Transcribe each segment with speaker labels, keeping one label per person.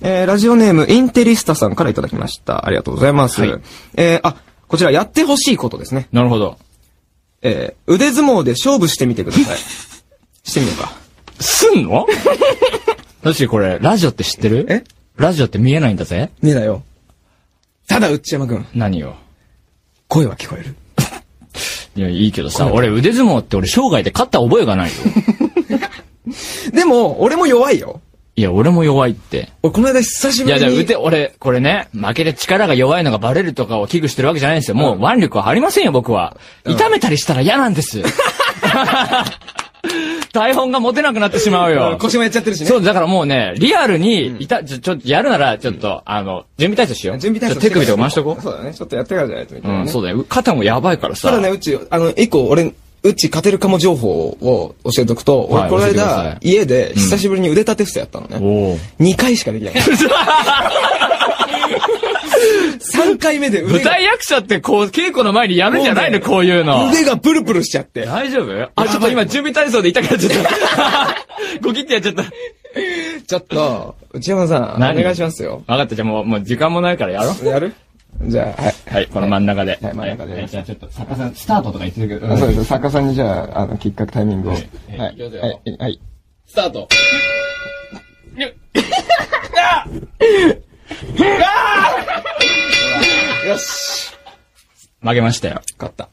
Speaker 1: えー、ラジオネーム、インテリスタさんからいただきました。ありがとうございます。
Speaker 2: はい
Speaker 1: えー、あ、こちらやってほしいことですね。
Speaker 2: なるほど。
Speaker 1: えー、腕相撲で勝負してみてください。 してみようか。
Speaker 2: すんのだしこれ、ラジオって知ってる
Speaker 1: え
Speaker 2: ラジオって見えないんだぜ
Speaker 1: ねえだよ。ただ、内山くん、
Speaker 2: 何よ。
Speaker 1: 声は聞こえる。
Speaker 2: いや、いいけどさ、俺腕相撲って俺生涯で勝った覚えがないよ。
Speaker 1: でも、俺も弱いよ。
Speaker 2: いや、俺も弱いって。
Speaker 1: 俺、この間久し
Speaker 2: い
Speaker 1: ぶり
Speaker 2: や、
Speaker 1: に。
Speaker 2: じゃあ、腕、俺、これね、負けて力が弱いのがバレるとかを危惧してるわけじゃないんですよ。もう腕力はありませんよ、僕は。痛めたりしたら嫌なん です。台本が持てなくなってしまうよ。
Speaker 1: 腰もやっちゃってるしね。
Speaker 2: そう、だからもうね、リアルに、いた、ちょ、ちょっとやるなら、ちょっと、あの、準備体操しよう。
Speaker 1: 準備体操
Speaker 2: ちょっと手首とか回しとこ
Speaker 1: そうだね。ちょっとやってからじゃないとみた
Speaker 2: う。
Speaker 1: いな、
Speaker 2: う
Speaker 1: ね
Speaker 2: ん、そうだよ。肩もやばいからさ。
Speaker 1: ただね、うち、あの、一個俺、うち勝てるかも情報を教えておくと、俺
Speaker 2: はい
Speaker 1: この
Speaker 2: 教えてくだ
Speaker 1: 間
Speaker 2: さ、い
Speaker 1: 家で久しぶりに腕立て伏せやったのね。
Speaker 2: おお。
Speaker 1: 二2回しかできない。3回目で
Speaker 2: 舞
Speaker 1: 腕が
Speaker 2: 台、役者ってこう、稽古の前にやるんじゃないの、こういうの。
Speaker 1: 腕がプルプルしちゃって。
Speaker 2: 大丈夫あ、ちょっと今準備体操で痛くなっちゃった。 ゴキってやっちゃった。
Speaker 1: ちょっと、内山さん、お
Speaker 2: 何
Speaker 1: 願いしますよ。
Speaker 2: 分かった、じゃあもう、もう時間もないからやろう。
Speaker 1: やるじゃあ、はい。
Speaker 2: はい、この真ん中で。
Speaker 1: はい真ん中で
Speaker 2: はいじゃあちょっと、作家さん、スタートとか言ってるけど。
Speaker 1: そうです。作家さんにじゃあ、あの、きっかけタイミングを。はい。
Speaker 2: い
Speaker 1: はい
Speaker 2: いきます。よ
Speaker 1: はい。はい
Speaker 2: スタート。
Speaker 1: よし。
Speaker 2: 負けましたよ。
Speaker 1: 勝った。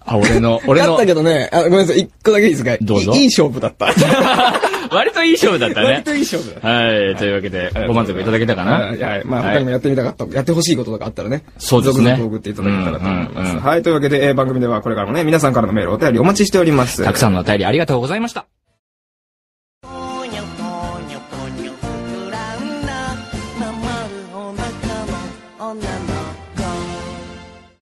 Speaker 2: あ、俺の、俺
Speaker 1: 勝っ
Speaker 2: の
Speaker 1: た、けどね、あ、ごめんなさい。一個だけいいですか
Speaker 2: どうぞ
Speaker 1: いいいい勝負だった。
Speaker 2: 割といい勝負だった
Speaker 1: 割
Speaker 2: ね
Speaker 1: と。いい勝負だった。
Speaker 2: はい、というわけで、ご満足いただけたかな
Speaker 1: はいはい。まあ、他にもやってみたかった、やってほしいこととかあったらね。
Speaker 2: そうですね
Speaker 1: 続々送っていただけたらと思います。
Speaker 2: うんうんうん
Speaker 1: はい。というわけで、えー番組ではこれからもね、皆さんからのメールお便りお待ちしております。
Speaker 2: たくさんのお便りありがとうございました。
Speaker 3: ぽにょぽにょぽにょ膨らんだままるお腹の女の